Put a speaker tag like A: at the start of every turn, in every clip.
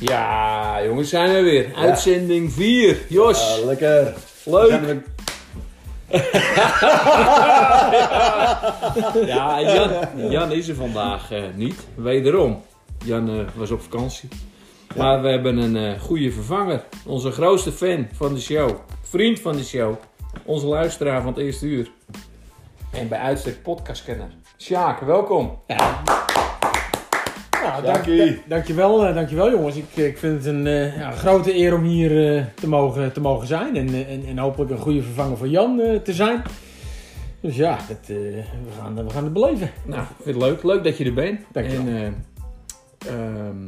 A: Ja, jongens, zijn we weer. Uitzending 4. Jos,
B: Ah, lekker.
A: leuk.
B: Zijn we-
A: Ja, Jan, Jan is er vandaag eh, niet. Wederom. Jan eh, was op vakantie. Maar we hebben een eh, goede vervanger. Onze grootste fan van de show. Vriend van de show. Onze luisteraar van het eerste uur. En bij uitstek podcastkenner. Sjaak, welkom.
C: Nou, dank,
B: Sjaakie.
C: da- dankjewel, eh, dankjewel jongens. Ik, ik vind het een eh, ja, grote eer om hier eh, te, mogen, te mogen zijn. En, eh, en, en hopelijk een goede vervanger voor Jan eh, te zijn. Dus ja, dat, eh, we, gaan, we gaan het beleven.
A: Nou, ik vind het leuk. Leuk dat je er bent.
C: Dankjewel.
A: En, eh, ehm,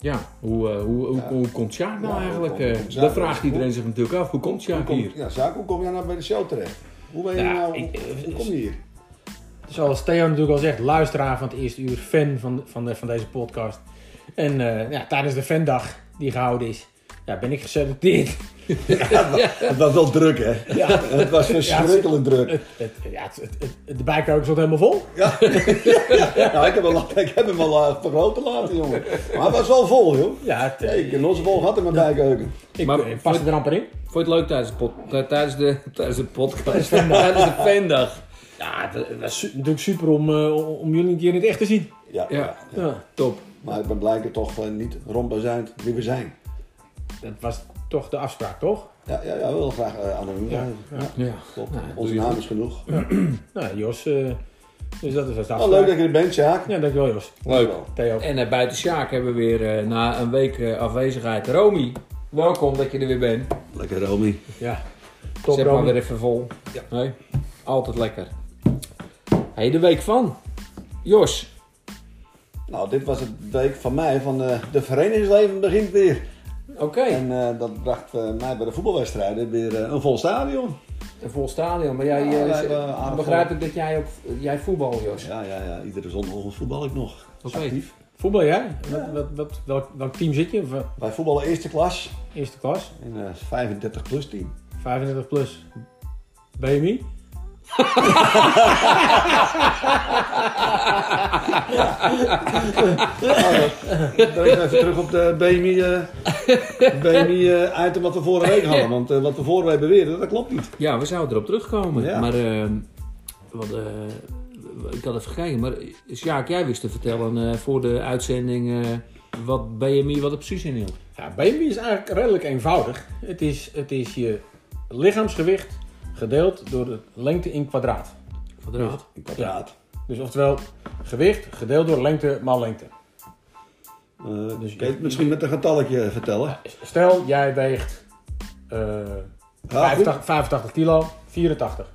A: ja, hoe, eh, hoe, hoe,
B: Ja.
A: hoe komt Sjaak nou
B: Ja, hoe
A: eigenlijk?
B: komt- hoe
A: eh,
B: komt Sjaak?
A: dat vraagt iedereen zich natuurlijk af. Hoe komt
B: Hoe
A: Sjaak
B: kom-
A: hier?
B: Ja, Sjaak, hoe kom jij nou bij de show terecht? Hoe ben je
A: Ja,
B: nou...
A: ik-
B: hoe- hoe kom je hier?
C: eh, Zoals Theo natuurlijk al zegt, luisteraar van het eerste uur, fan van, van, de, van deze podcast. En eh, ja, tijdens de fandag die gehouden is, ja, ben ik geselecteerd.
B: Het was wel druk, hè?
C: Ja,
B: Het was verschrikkelijk druk.
C: het, het, ja, het, het, het- de bijkrook stond helemaal vol.
B: Nou, ik heb hem, al- ik heb hem al eh, vergroten laten, jongen. Maar het was wel vol, joh.
C: Ja, het, eh,
B: Ik, een osbol had in mijn bijkeuken.
C: ik,
A: Maar-
C: eh, paste er amper in.
A: Vond je het leuk tijdens de, pod- eh, tijdens de, tijdens de podcast? tijdens de fandag.
C: Ja, het, het was su- natuurlijk super om, eh, om jullie een keer in het echt te zien.
B: Ja,
A: Ja.
B: ja.
C: Ja,
A: Top.
B: Maar ik ben blijkbaar toch eh, niet rondbazuind wie we zijn.
C: Nou, dat was toch de afspraak, toch?
B: Ja, ja, ja we willen graag eh anoniem zijn.
A: Ja.
B: Klopt.
A: Nou,
B: Onze naam is genoeg.
C: Nou, Jos, eh, dus dat is de afspraak.
B: Oh, leuk dat je er bent, Sjaak.
C: Ja, dankjewel Jos.
A: Leuk.
C: Theo.
A: En eh, buiten Sjaak hebben we weer eh, na een week eh, afwezigheid Romy. Welkom dat je er weer bent.
B: Lekker, Romy.
C: Ja, top
A: Zet maar
C: Romy.
A: weer even vol. Hé, Altijd lekker. Hey, de week van. Jos.
B: Nou, dit was het week van mij van eh, de verenigingsleven begint weer.
A: Oké.
B: En eh, dat bracht eh, mij bij de voetbalwedstrijden weer eh, een vol stadion.
A: Een vol stadion. Maar jij,
B: Ja,
A: eh,
B: wij
A: z-
B: hebben aardig
A: begrijp ik dat jij, op, jij voetbal, Jos.
B: Ja, ja, ja. Iedere zondagochtend voetbal ik nog.
A: Oké.
B: Actief.
C: Voetbal, jij? Wat, wat, wat, welk, welk team zit je? Of, eh,
B: Wij voetballen eerste klas
C: Eerste klas,
B: in een 35 plus team.
C: 35 plus. BMI?
B: Dan even terug op de BMI, eh, BMI eh, item wat we vorige week hadden. Want eh, wat we vorige week beweerden, dat klopt niet.
A: Ja, we zouden erop terugkomen.
B: Ja.
A: Maar, ehm, want, eh, ik had het gekeken, maar Sjaak, jij wist te vertellen eh, voor de uitzending eh, wat BMI wat er precies in hield.
C: Ja, BMI is eigenlijk redelijk eenvoudig. Het is, het is je lichaamsgewicht gedeeld door de lengte in kwadraat.
A: Van de raad.
B: In kwadraat.
C: Dus oftewel, gewicht gedeeld door lengte maal lengte.
B: Eh, dus je kan het misschien met een getalletje vertellen.
C: Stel, jij weegt eh,
B: Ja, goed.
C: 85, 85 kilo, 84.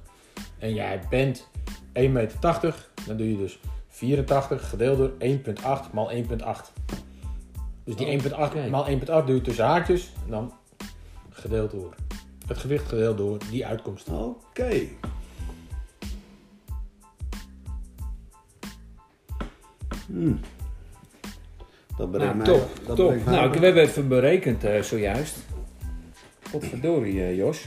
C: En jij bent 1,80 meter. Dan doe je dus 84 gedeeld door 1,8 maal 1,8. Dus
B: Oh,
C: die 1,8
A: oké.
C: maal 1,8 doe je tussen haakjes. En dan gedeeld door het gewicht gedeeld door die uitkomst.
B: Oké. Hmm. Dat bereikt
A: Nou,
B: mij.
A: top,
B: dat
A: top.
B: bereikt mij-
A: Nou, ik- we hebben even berekend eh, zojuist. Potverdorie, eh, Jos.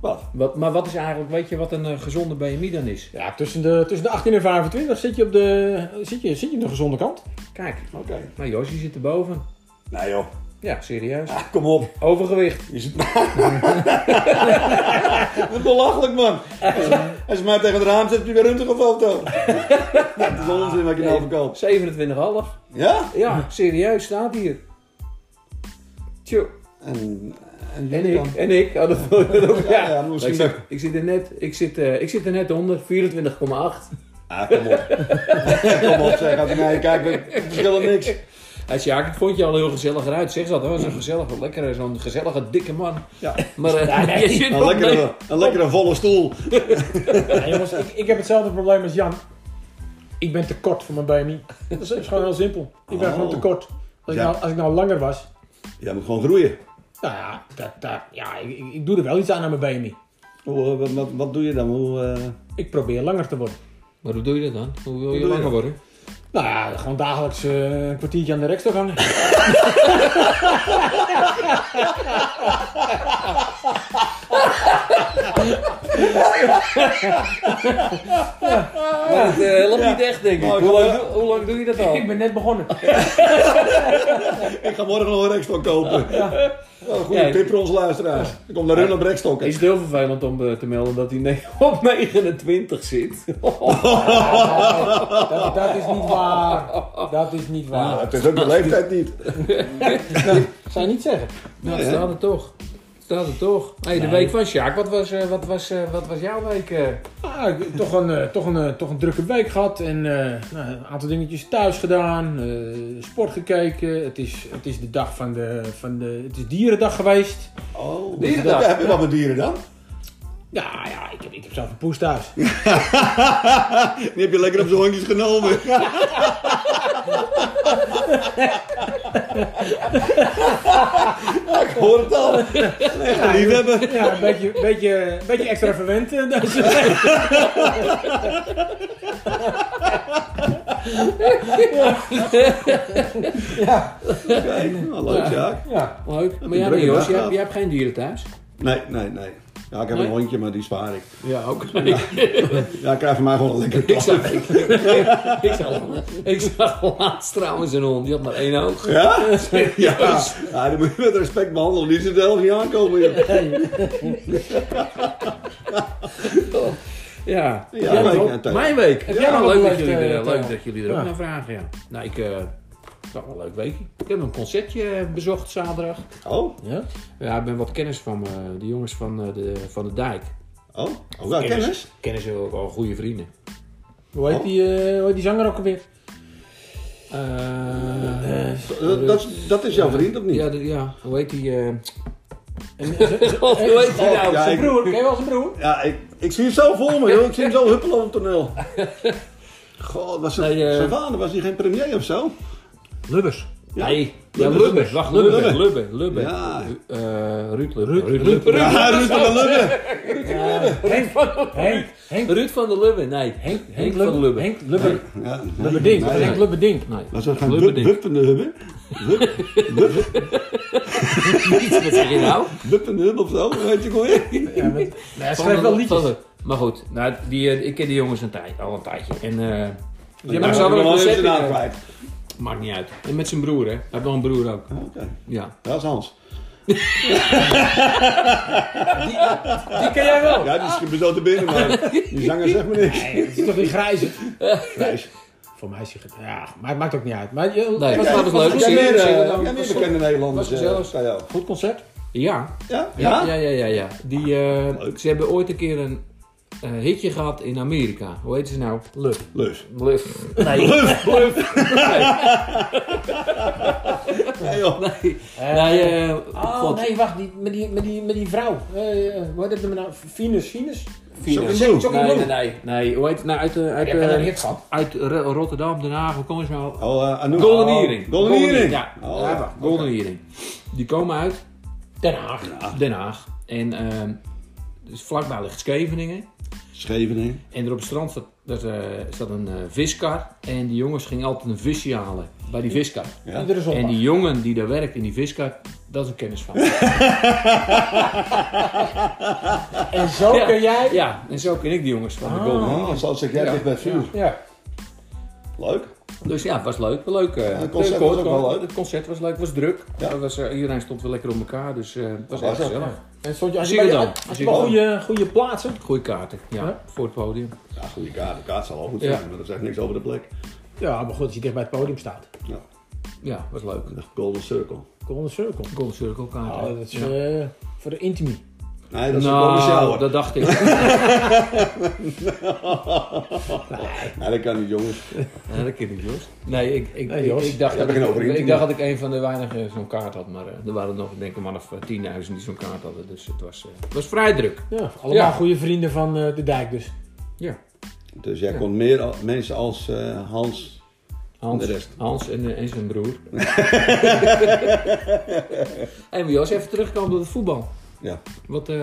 B: Wat?
A: Wat, maar wat is eigenlijk, weet je wat een eh, gezonde BMI dan is?
C: Ja, tussen de, tussen de 18 en 25 zit je op de, zit je, zit je op de gezonde kant.
A: Kijk,
B: Oké.
A: nou Jos, je zit erboven.
B: Nou joh,
A: Ja, serieus.
B: Ah, kom op.
A: Overgewicht.
B: Je zit... Wat belachelijk man. Als je- Als je mij tegen het raam zet, heb je weer een foto. Dat is onzin wat je nou verkoopt.
A: 27,5.
B: Ja?
A: Ja, serieus, staat hier. Tjoe.
B: En, en
A: En
B: jullie dan?
A: ik, en ik. Oh, dat wil ik ook, ja.
B: Ja, ja, misschien
A: ik, zit, ik zit er net, ik zit, eh, ik zit er net onder, 24,8.
B: Ah, kom op. kom op, zeg. Gaat naar je kijken. Het verschil in niks.
A: Hij zei, ja, ik vond je al heel gezellig eruit. Zeg dat, hoor. Zo'n gezellige, lekkere, zo'n gezellige, dikke man.
B: Ja.
A: Maar eh, je zit
B: Een
A: nog mee.
B: lekkere, een lekkere volle stoel.
C: Ja, jongens, ik, ik heb hetzelfde probleem als Jan. Ik ben te kort voor mijn BMI. Dat is, is gewoon heel simpel. Ik ben
B: Oh.
C: gewoon te kort. Als,
B: Ja.
C: ik nou, als ik nou langer was,
B: Jij moet gewoon groeien.
C: nou ja, dat, dat, ja ik, ik- ik doe er wel iets aan aan mijn BMI.
B: Hoe, eh, wat, wat, wat doe je dan? Hoe, eh,
C: Ik probeer langer te worden.
A: Maar hoe doe je dat dan? Hoe wil
B: doe
A: je
B: je
A: langer
B: dat?
A: worden?
C: Nou ja, gewoon dagelijks eh, een kwartiertje aan de rekstok hangen.
D: Maar het eh, helpt niet echt, denk ik.
B: Maar ik
D: Hoe
B: ga-
D: lang, doe- hoe lang doe je dat al?
C: Ik ben net begonnen.
B: Ik ga morgen nog een rekstok kopen. Wel een goede
D: Ja,
B: tip voor onze luisteraars. Ik kom naar hun op rekstokken.
D: Is het heel vervelend om eh, te melden dat hij ne- op 29 zit.
C: Dat, dat is niet waar. Dat is niet
B: Ah,
C: waar.
B: het is ook de leeftijd niet.
C: Zou je niet zeggen.
A: Nou,
B: Nee,
A: het
B: hè?
A: staat er toch. Het staat er toch. Hey, de week van Sjaak, wat was, eh, wat was, eh, wat was jouw week? eh?
C: Ah, ik- toch, een, eh, toch, een, eh, toch een drukke week gehad en eh, nou, een aantal dingetjes thuis gedaan, eh, sport gekeken. Het is, het is de dag van de, van de, het is dierendag geweest.
B: Oh,
D: Dierendag.
B: Heb je wat met dieren dan?
C: Ja, ja ik, heb, ik heb zelf een poes thuis.
B: Die heb je lekker op zijn hondjes genomen. ik hoor het al. Een echte liefhebber.
C: Ja, een beetje, beetje, een beetje extra verwend. eh, deze week.
B: Kijk, nou, leuk Sjaak.
C: Ja.
A: Leuk. Maar
B: een
A: ja, nee,
B: drukke
A: Jos,
B: dag
A: jij,
B: gehad.
A: jij hebt geen dieren thuis.
B: Nee, nee, nee. Ja, ik heb
A: Nee?
B: een hondje, maar die spaar ik.
A: Ja, ook.
B: Ja, ik krijg van mij gewoon een lekker
A: Ik zag, ik, ik- ik zag, ik zag laatst trouwens een hond, die had maar één oog.
B: Ja? Ja. ja, die moet je met respect behandelen. Die zit er zelf niet aankomen. joh.
A: Ja,
B: Ja,
A: Jij
B: mijn
A: ook.
B: week, ja,
A: mijn week.
C: Heb
A: Ja,
C: jij nog wat
A: leuk, dat
C: beleefd,
A: jullie er,
C: eh,
A: leuk
C: Theo?
A: dat jullie er
C: Ja.
A: ook naar vragen. Ja. Nou, ik, eh nou, een leuk weekje. Ik heb een concertje eh, bezocht zaterdag.
B: Oh,
C: Ja?
A: Ja, ik ben wat kennis van me, de jongens van, eh, de, van de dijk.
B: oh. Ook wel kennis?
A: Kennen ze ook al goede vrienden.
C: Hoe, heet die, eh, hoe heet die zanger ook alweer?
A: Eh,
C: Eh,
B: Dat, dat, dat is jouw vriend of niet? Oh,
A: ja, de- ja, hoe heet die? eh,
D: God, hoe heet hij nou?
B: Ja,
C: zijn
B: ik,
C: broer, ken je wel zijn broer?
B: ja ik, ik zie hem zo voor me, joh. Ik zie hem zo huppelen op het toneel. God, was zijn,
A: Nee, eh,
B: zijn vader was hij geen premier of zo?
A: Lubbers.
B: Ja.
A: Nee, ja,
B: Lubbers.
A: Lubbers. Wacht, Lubbers. Lubbers. Lubbers.
B: Ja.
A: Eh, Ruud Lubbers. Ruud,
B: Ja, Ruud van der Lubbe.
A: Henk van
C: Eh, Henk, Henk,
A: Ruud van der Lubbe, nee. Henk,
C: Henk,
A: Henk van der Lubbe.
C: Henk Lubber,
B: Ja, nee,
C: Lubberding,
B: nee,
C: Henk
B: nee.
C: Lubberding.
A: Nee.
B: Was dat geen
A: Lubbe
B: wup-
A: ding.
B: wuppende hubbe? Wup- wup-
A: Wat zeg je nou?
B: Wuppende hubbe of zo? Weet je hoe heet die?
C: Ja, met, nee, hij schrijft wel liedjes.
A: Van- Maar goed, nou, die, eh, ik ken die jongens een tijd, al een tijdje. En, eh
B: Ja,
A: die
B: maar
A: hebben
B: ik
A: samen een
B: wel eens
A: concert
B: de naam
A: in-
B: kwijt.
A: Maakt niet uit. En met zijn broer, hè. Hij heeft nog een broer ook.
B: Oké,
A: Ja.
B: dat is Hans.
C: Die ken jij wel.
B: Ja, die is besloten binnen, maar die zanger zegt me niks.
C: Nee, het is toch die grijze?
B: Grijs.
C: Voor mij is hij... ge- Ja, maar het maakt ook niet uit. Maar, eh, je-
A: Nee.
C: was-
A: Ja, dat is leuk.
C: was-
B: Jij
A: Zing-
B: meer,
A: zingen
B: eh,
A: dan-
B: jij meer bekende Nederlanders?
A: was
B: eh,
A: gezellig.
B: sta jou.
C: Goed concert.
A: Ja.
B: Ja?
A: Ja, ja, ja, ja. ja. Die, eh,
B: Leuk.
A: ze hebben ooit een keer een eh, hitje gehad in Amerika. Hoe heet ze nou? Luf.
B: Lus.
A: Luf. Nee. Luf. Luf.
B: Ja, joh.
A: Nee. Nee, eh,
C: Oh,
A: God.
C: nee, wacht. Die, met, die, met, die, met die vrouw. Eh, eh, hoe heet dat nummer nou? Venus, Venus?
B: Venus.
C: Zeg, Johnny
A: Nee, nee,
C: Blue.
A: nee. Nee, hoe heet het nou? Uit, eh, uit,
C: Die hebben
A: eh,
C: een hit gehad.
A: uit Ro- Rotterdam, Den Haag, hoe komen ze nou?
B: Oh, eh, Anouk.
A: Golden
B: Oh,
A: Earring.
B: Golden Earring.
A: Ja,
B: Oh,
A: ja,
B: ja.
A: Golden Earring. Die komen uit
C: Den Haag.
A: Den Haag. En ehm, dus vlakbij ligt Scheveningen.
B: Scheveningen.
A: En er op het strand staat, dat, eh, staat een eh, viskar. En die jongens gingen altijd een visje halen bij die viskar.
B: Ja.
C: Iedere zondag.
A: En die jongen die daar werkt in die viskar, dat is een kennis van.
C: En zo
A: Ja.
C: kun jij...
A: ja, en zo ken ik die jongens van de
C: Ah.
A: Golden Earring.
B: Oh, zoals ik jij
A: Ja.
B: dicht bij het vuur.
C: Ja.
B: Leuk.
A: Dus ja, het was leuk. Leuk. eh,
B: het concert was ook wel leuk.
A: Het concert was leuk, het was druk.
B: Ja.
A: Het was, eh, iedereen stond weer lekker op elkaar, dus eh, het was
B: Was
A: echt
B: dat,
A: gezellig.
C: En stond je, als je,
A: Zie je
C: bij-
A: dan?
C: als je
A: Zie
C: wel
A: je dan?
C: goede, goede plaatsen...
A: Goeie kaarten, ja,
C: Ja.
A: voor het podium.
B: Ja, goede kaart. De kaart zal al goed
A: Ja.
B: zijn, maar dat zegt niks over de plek.
C: Ja, maar goed, als je dicht bij het podium staat.
B: Ja.
A: Ja, was leuk.
B: De Golden Circle.
C: Golden Circle.
A: Golden Circle
C: Nou,
B: Oh,
A: kaarten.
C: dat is
A: Ja.
C: eh, voor de intimie.
B: Nee, dat is de Golden
A: nou,
B: Shower.
A: dat dacht ik.
B: Nee, dat kan niet, jongens.
A: Ja, dat ken ik, Jos. Nee, ik, ik,
C: Nee,
A: ik-
C: Jos.
A: ik, dacht,
B: Je
A: dat
B: hebt geen
A: ik,
B: overeenkomst.
A: ik dacht dat ik een van de weinigen zo'n kaart had. Maar eh, er waren nog, denk ik, maar nog 10.000 eh, die zo'n kaart hadden. Dus het was, eh, het was vrij druk.
C: Ja, allemaal
A: Ja.
C: goede vrienden van eh, de dijk dus.
A: Ja.
B: Dus jij kon meer al- mensen als eh, Hans.
A: Hans,
B: De rest.
A: Hans en, eh, en zijn broer. en maar Jos, even terugkomen op het voetbal.
B: Ja.
A: Wat, eh,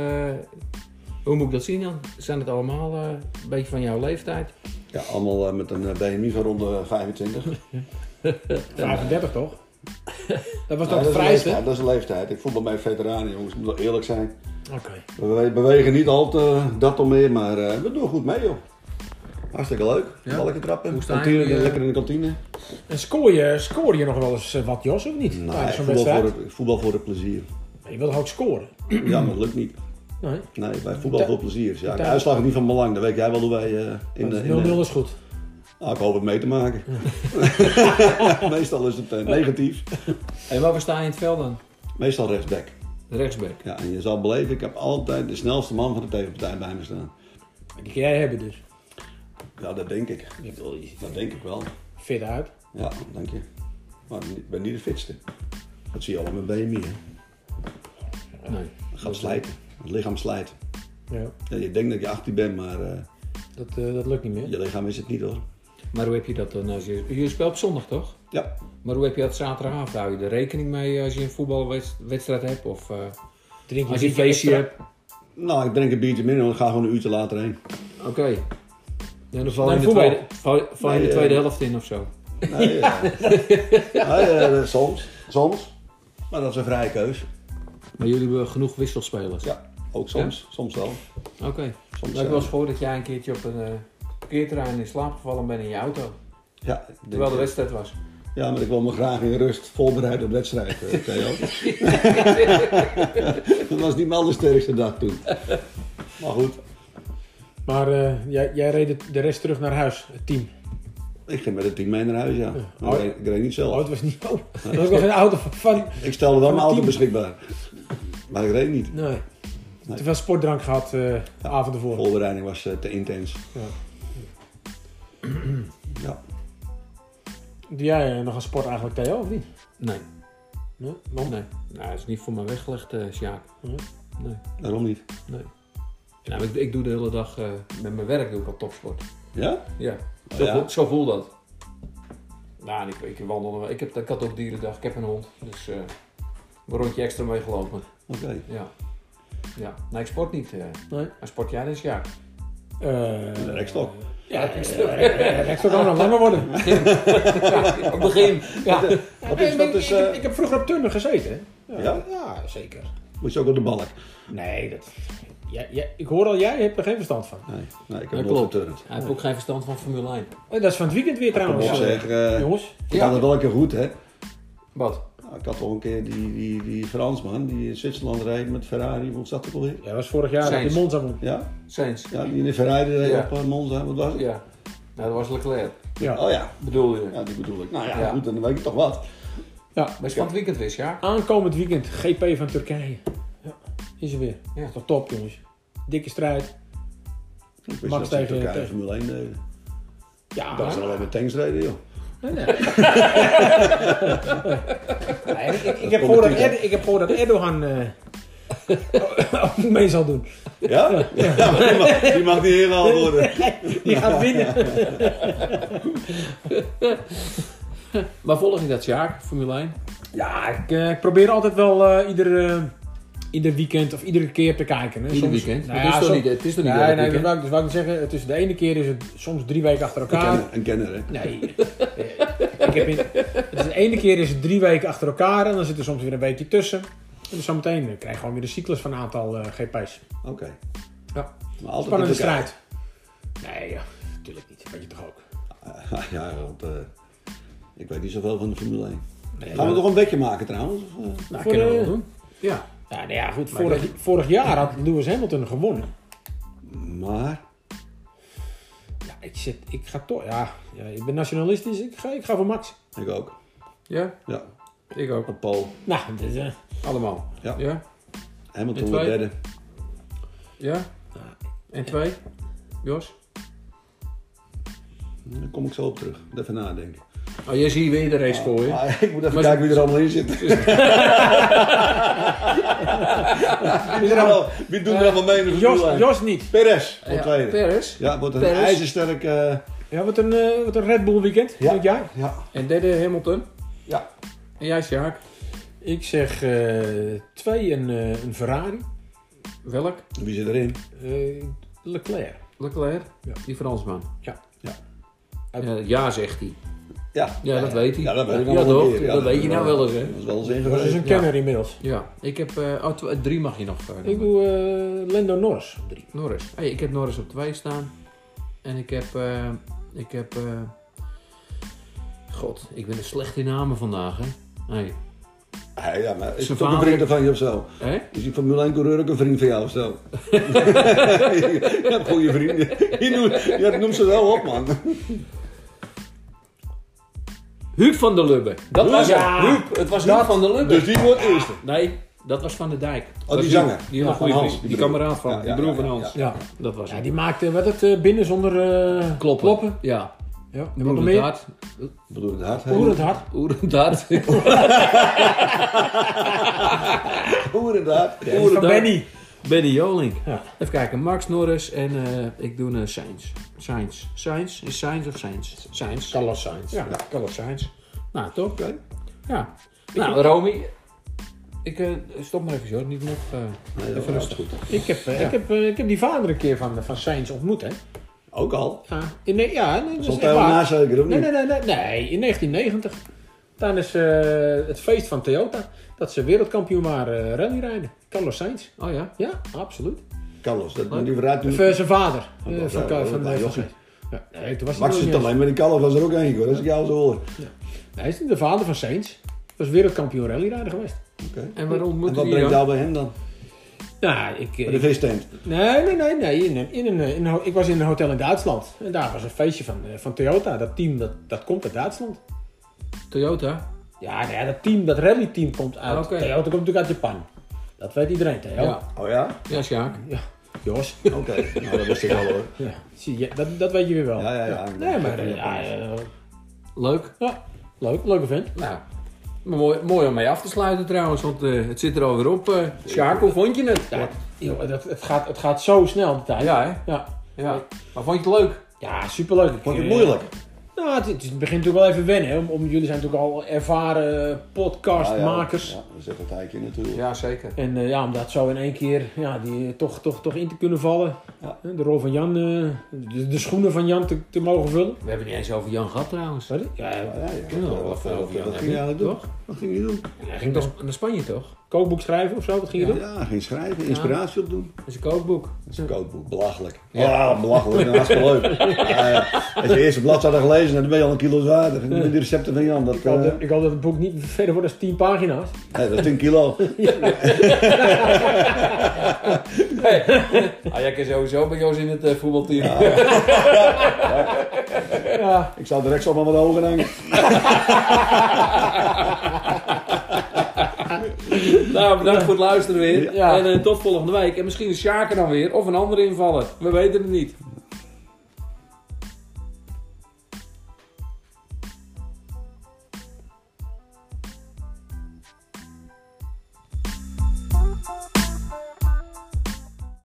A: hoe moet ik dat zien dan? Zijn het allemaal eh, een beetje van jouw leeftijd?
B: Ja, allemaal eh, met een eh, BMI van rond de 25. Ja,
C: 35 toch? Dat was toch
B: dat, is een
C: de
A: Nou,
C: vrijste?
B: leeftijd, dat is een leeftijd. Ik voel me bij veteranen, jongens. Ik moet wel eerlijk zijn.
C: Oké.
B: We bewegen niet al te dat om meer, maar eh, we doen goed mee, joh. Hartstikke leuk.
C: Ja.
B: Balken trappen.
A: Hoe staan
B: Kantine,
A: jullie, eh?
B: lekker in de kantine.
C: En scoor je, scoor je nog wel eens eh, wat, Jos, of niet?
B: Nee,
C: Tijdens zo'n
B: voetbal voor,
C: wedstrijd.
B: het, voetbal voor het plezier.
C: Je wil toch ook scoren?
B: ja, maar dat lukt niet.
C: Nee.
B: Nee, bij voetbal
C: Ta-
B: voor plezier. Ja, de
C: ta-
B: uitslag is niet van belang. Dat weet jij wel hoe wij eh, in de...
C: Want 0-0
B: in de-
C: is goed.
B: Nou, ik hoop het mee te maken. Meestal is het eh, negatief.
A: En waar sta je in het veld dan?
B: Meestal rechtsback.
A: Rechtsback.
B: Ja, en je zal beleven, ik heb altijd de snelste man van de tegenpartij bij me staan.
C: Die kun jij hebben dus.
B: Ja, dat denk ik. Dat denk ik wel.
C: Fit uit.
B: Ja, dank je. Maar ik ben niet de fitste. Dat zie je allemaal met BMI, hè.
A: Nee.
B: Dat gaat slijten. Het lichaam slijt.
C: Ja,
B: Ja, je denkt dat je 18 bent, maar eh,
C: dat, eh, dat lukt niet meer.
B: je lichaam is het niet, hoor.
A: Maar hoe heb je dat dan? Als je, je speelt op zondag toch?
B: Ja,
A: Maar hoe heb je dat zaterdagavond? Hou je er rekening mee als je een voetbalwedstrijd hebt? Of eh,
C: Drink
A: als je een feestje hebt?
B: nou, ik drink een biertje minder en dan ga gewoon een uurtje later heen.
A: Oké. Ja, dan val je
C: Nee,
A: in de
C: voetbal.
A: tweede, val, val je in de
B: Nee,
A: tweede
B: eh,
A: helft in of zo.
B: Nee, ja. Nee, eh, soms. Soms. Maar dat is een vrije keus.
A: Maar jullie hebben genoeg wisselspelers.
B: Ja, ook soms. Soms wel.
A: Oké.
B: Soms,
A: Nou, Ik
B: eh,
A: was eens gehoord dat jij een keertje op een eh, parkeerterrein in slaap gevallen bent in je auto.
B: ja, ik denk-
A: Terwijl de wedstrijd was.
B: Ja, maar ik wil me graag in rust voorbereiden op wedstrijd, eh, Theo. dat was niet mijn sterkste dag toen. Maar goed,
C: Maar eh, jij, jij reed het- de rest terug naar huis, het team.
B: ik ging met het team mee naar huis, ja.
C: Oh.
B: Ik reed, ik reed niet
C: Oh,
B: zelf.
C: het was niet... Oh, er was nog geen auto van- van...
B: Ik stelde wel
C: Van
B: mijn auto
C: het team?
B: beschikbaar. Maar ik reed niet.
C: Nee. Te veel sportdrank gehad eh, de avond
B: De
C: ervoor.
B: voorbereiding was eh, te intens.
C: Ja.
B: Ja.
C: Doe jij eh, nog aan sport eigenlijk, Theo, of niet?
A: Nee.
C: Nee? Waarom?
A: Nee. Nou, dat is niet voor me weggelegd, eh Sjaak.
C: Nee.
A: Nee.
B: Waarom niet?
A: Nee. Nou, ik, ik doe de hele dag eh, met mijn werk doe ik al topsport.
B: Ja?
A: Ja.
B: Oh,
A: Zo,
B: ja?
A: Voel, zo voel dat. Nou, en ik, ik wandelde. wel. Ik, heb, ik had ook dierendag. Ik heb een hond. Dus eh een rondje extra meegelopen.
B: Oké.
A: Ja. Ja. Nee, ik sport niet. eh.
C: Nee.
A: Maar sport jij dus ja.
C: Eh,
B: Een rekstok.
C: Ja, dat zou dan nog langer worden.
A: Op het begin.
C: Ja.
B: Wat is- wat is,
C: ik, heb-
B: eh,
C: ik heb vroeger op turnen gezeten. hè.
B: Ja?
C: Ja, zeker.
B: Moet je ook op de balk?
C: Nee, dat... Ja, ja, ik hoor al, jij hebt er geen verstand van.
B: Nee, nee ik
A: Dat
B: heb nooit
A: klopt.
B: geturnd.
A: Hij heeft ook geen verstand van Formule 1.
C: Oh, dat is van het weekend weer
B: Kom op
C: trouwens.
B: zeg. eh,
C: Jongens,
B: ik
A: Ja.
B: had het wel een keer goed, hè.
A: Wat?
B: Nou, ik had al een keer die, die, die Fransman die in Zwitserland reed met Ferrari. Hoe zat dat alweer?
C: jij was vorig jaar
A: Sainz.
C: in Monza. man.
B: Ja?
A: Sainz.
B: ja, die in de Ferrari reed
A: Ja.
B: op eh, Monza. Wat was het?
A: Ja. Nou, dat was Leclerc.
C: Ja.
B: Oh ja.
A: Bedoel je?
B: ja, die bedoel ik. Nou ja,
A: Ja.
B: goed, dan weet ik toch wat.
C: ja.
A: Best van het weekend wist, ja.
C: Aankomend weekend, GP van Turkije. Ja, is er weer.
A: Ja.
C: Toch top, jongens. Dikke strijd.
B: Ik wist
C: Max
B: dat ze in
C: tegen-
B: Turkije
C: tegen-
B: Formule eh, 1 deden.
C: Ja,
B: Dat ze alleen met tanks reden, joh.
C: Nee, nee. Nee, ik, ik,
B: Dat
C: heb gehoord dat
B: komt natuurlijk.
C: Erd- ik heb gehoord dat Erdogan eh, mee zal doen.
B: Ja? ja. die, mag, die mag niet ingehaald worden.
C: Die gaat winnen.
A: Maar volg je dat Sjaak, Formule 1?
C: Ja, ik, eh, ik probeer altijd wel eh, ieder, eh, ieder weekend of iedere keer te kijken. Hè.
A: Ieder
C: Soms-
A: weekend?
C: Nou
A: het,
C: ja,
A: is toch
C: soms-
A: niet, het is toch niet
C: Nee,
A: elk
C: nee, dat
A: weekend?
C: wou ik, dus wou ik niet zeggen. Het is de ene keer is het soms drie weken achter
B: Een
C: elkaar.
B: kenner, een kenner, hè.
C: Nee. ik heb in, het is de ene keer is het drie weken achter elkaar en dan zit er soms weer een weekje tussen. En dus zometeen eh, krijg je gewoon weer de cyclus van een aantal eh, GP's.
B: Oké.
C: Ja.
B: Maar altijd
C: Spannende
B: in Turkije.
C: strijd. Nee, ja, natuurlijk niet. Weet je toch ook.
B: Ah, Ja, want eh, ik weet niet zoveel van de Formule 1.
C: Nee, eh,
B: Gaan we toch een bedje maken, trouwens? Of, eh?
C: nou,
A: kunnen we wel
C: doen.
A: Ja.
C: Ja, nou ja, goed.
A: Maar
C: Vorig, vorig jaar had Lewis Hamilton gewonnen.
B: Maar,
C: Ja, ik, zit, ik ga toch. Ja, ja, ik ben nationalistisch. Ik ga, ik ga voor Max.
B: ik ook.
A: Ja,
B: Ja,
A: ik ook.
B: op Paul.
C: Nou, dit, eh,
A: Allemaal.
B: Ja.
A: Ja?
B: Hamilton
A: Met
B: wordt
A: twee.
B: derde.
A: Ja? En twee? Jos?
B: Daar kom ik zo op terug. Even nadenken.
A: Oh, jij ziet weer de race voor je.
B: Maar ik moet even
A: Maar-
B: kijken wie er allemaal in zit. wie, er allemaal, wie doet er allemaal mee in de
C: Jos,
B: Formule
C: Jos niet.
B: Perez,
A: Eh, Ja,
B: wordt tweede.
A: Perez.
B: Ja, wordt een
A: Perez.
B: ijzersterk... eh,
C: Ja, wat een, eh, wat een Red Bull weekend
B: Ja.
C: dit jaar.
B: ja,
A: En derde Hamilton.
B: ja.
A: En jij Sjaak?
C: Ik zeg eh, twee, een, eh, een Ferrari.
A: Welk?
B: Wie zit erin?
C: Eh, Leclerc.
A: Leclerc?
C: Ja.
A: Die Fransman.
C: Ja.
B: Ja.
A: Ja, ja zegt hij.
B: Ja.
A: Ja, dat weet hij.
B: Ja, dat weet ik nog
A: Ja,
B: wel een
A: toch?
B: keer. Ja,
A: dat weet je nou wel eens, hè?
B: Dat is wel eens
C: Dat is dus
B: ingewezen.
C: een kenner inmiddels.
A: Ja, ik heb... eh, oh, tw- drie mag je nog verder.
C: Ik doe eh Lando Norris.
A: Norris. Hey, ik heb Norris op 2 staan. En ik heb. eh, ik heb. eh, God, ik ben er slecht in namen vandaag, hè? Hey.
B: Ja, ja, maar is
A: Zijn
B: het ook een
A: vader-
B: vriend van je of zo?
A: Hè?
B: Is die Formule 1 coureur ook een vriend van jou of zo? je hebt goede vrienden. Je noemt, je noemt ze wel op, man.
A: Huub van der Lubbe. Dat was
C: Ja.
A: hem. Huub, het was Huub van der Lubbe.
B: Dus die wordt eerste.
A: Nee, dat was Van der Dijk. Dat
B: die
A: is
B: zanger.
A: Huub. Die had een goede
C: Ja,
B: van
A: vriend.
B: Hans,
A: Die,
B: die broer.
A: kameraad van,
B: Ja, ja,
A: die broer van
B: ja,
A: Hans.
C: Ja.
A: Dat was
C: ja,
A: hem.
C: die maakte wat het eh, binnen zonder eh,
A: Kloppen.
C: kloppen.
A: Ja.
C: Ja, wat nog
A: Broer het
C: meer?
A: hart.
B: Ik bedoel het hart. hè?
C: Hoe het hart.
A: Oerend hart.
B: Hoe inderdaad.
C: Die Van
A: hart.
C: Benny.
A: Benny Jolink.
C: Ja.
A: Even kijken, Max Norris en eh, ik doe een Sainz. Sainz. Sainz? Is Sainz of Sainz? Sainz.
C: Carlos Sainz.
A: Ja,
C: Ja.
A: Carlos Sainz. Nou, toch?
B: Oké.
A: Ja. Nou, Romy. Ik eh, stop maar even zo, niet nog. eh,
B: Nee, dat
A: even
B: was
A: rustig.
B: goed.
C: Ik, heb, eh, ik, heb, eh, ik heb die vader een keer van, van Sainz ontmoet, hè.
B: Ook al.
C: Ja, in, ne- ja nee, dat is
B: Stond
C: echt
B: hij wel
C: waar.
B: na zeker, of
C: Nee,
B: niet?
C: nee, nee, nee, nee, in 1990. Tijdens eh, het feest van Toyota. Dat ze wereldkampioen waren eh, rallyrijden. Carlos Sainz.
A: Oh ja.
C: Ja, absoluut.
B: Carlos, dat moet die vooruit
C: Of
B: doen.
C: eh, zijn vader. eh,
B: Oh, Ja,
C: van
B: ja,
C: Ka-
B: ja,
C: van
B: ja,
C: eh, van
B: Jochie.
C: Sainz. Ja, nee, toen was
B: Max
C: hij nog
B: is
C: niet
B: het alleen, maar die Carlos was er ook eentje hoor. Dat is jouw zo hoor.
C: eens. Hij is niet de vader van Sainz. Was wereldkampioen rallyrijder geweest.
B: Oké.
A: En waarom
B: En
A: moet
B: wat
A: hij
B: brengt
A: dan?
B: jou bij hem dan?
C: Nou, ik,
B: Bij de
C: ik-
B: vistent.
C: nee, nee, nee, nee. In, een- in een, eh, in een ho- ik was in een hotel in Duitsland. En daar was een feestje van, eh, van Toyota. Dat team, dat, dat komt uit Duitsland.
A: Toyota?
C: Ja, nou ja, dat team, dat rallyteam komt uit.
A: Oké.
C: Toyota komt natuurlijk uit Japan. Dat weet iedereen, Theo. Ja.
A: Ja.
B: Oh ja?
A: Ja, Sjaak.
C: Jos.
B: Oké. Nou, dat wist ik al hoor.
C: Ja. Zie je, dat, dat weet je weer wel.
B: Ja, ja, ja.
C: Nee, maar eh, ja, eh,
A: Leuk.
C: ja, leuk, leuk event.
A: Nou. maar Mooi, mooi om mee af te sluiten trouwens, want eh, het zit er alweer op. eh Sjaak, hoe vond je het?
C: Ja, joh, dat, het, gaat, het gaat zo snel de tijd.
A: Ja, hè?
C: Ja,
A: Ja. Maar vond je het leuk?
C: ja superleuk. Ik,
B: Vond je het
C: eh,
B: moeilijk?
C: Nou, het, het begint natuurlijk wel even wennen. hè, Om, om, jullie zijn natuurlijk al ervaren podcastmakers.
B: Ja, ja, we zetten het eigenlijk in natuurlijk.
A: Ja, zeker.
C: En eh, ja, om dat zo in één keer ja, die, eh, toch, toch, toch in te kunnen vallen.
B: Ja.
C: Hè, De rol van Jan, eh, de, de schoenen van Jan te, te mogen vullen.
A: We hebben het niet eens over Jan gehad trouwens.
C: Sorry? Ja,
B: Ja, ja, ja.
A: Ja,
B: Dat-
A: wat
B: dat-
A: voor
B: Dat
A: Jan heb
B: dat eh, ging
A: je,
B: je eigenlijk doen.
A: toch?
B: Wat ging je doen?
C: hij
A: Ging
C: ging toch
A: naar, naar Spanje toch?
C: kookboek schrijven of zo? Wat ging je doen?
B: Ja, geen schrijven, inspiratie opdoen.
A: Dat is een kookboek.
B: Dat is een kookboek, belachelijk. Ja, belachelijk, dat is hartstikke leuk. Ja, ja. Als je eerst het bladzijde gelezen hebt, dan ben je al een kilo zwaarder. En Die recepten van Jan, dat,
C: Ik hoop,
B: eh,
C: dat, ik hoop dat het boek niet verder wordt dan 10 pagina's.
B: nee, dat is 10 kilo.
A: Ah, jij kan sowieso bij Jos in het eh, voetbalteam.
C: Ja,
B: Ik zou direct zomaar wat hoger hangen.
A: Nou, bedankt voor het luisteren weer.
C: Ja.
A: En eh, tot volgende week. En misschien is Sjaak er dan weer. Of een andere invaller. We weten het niet.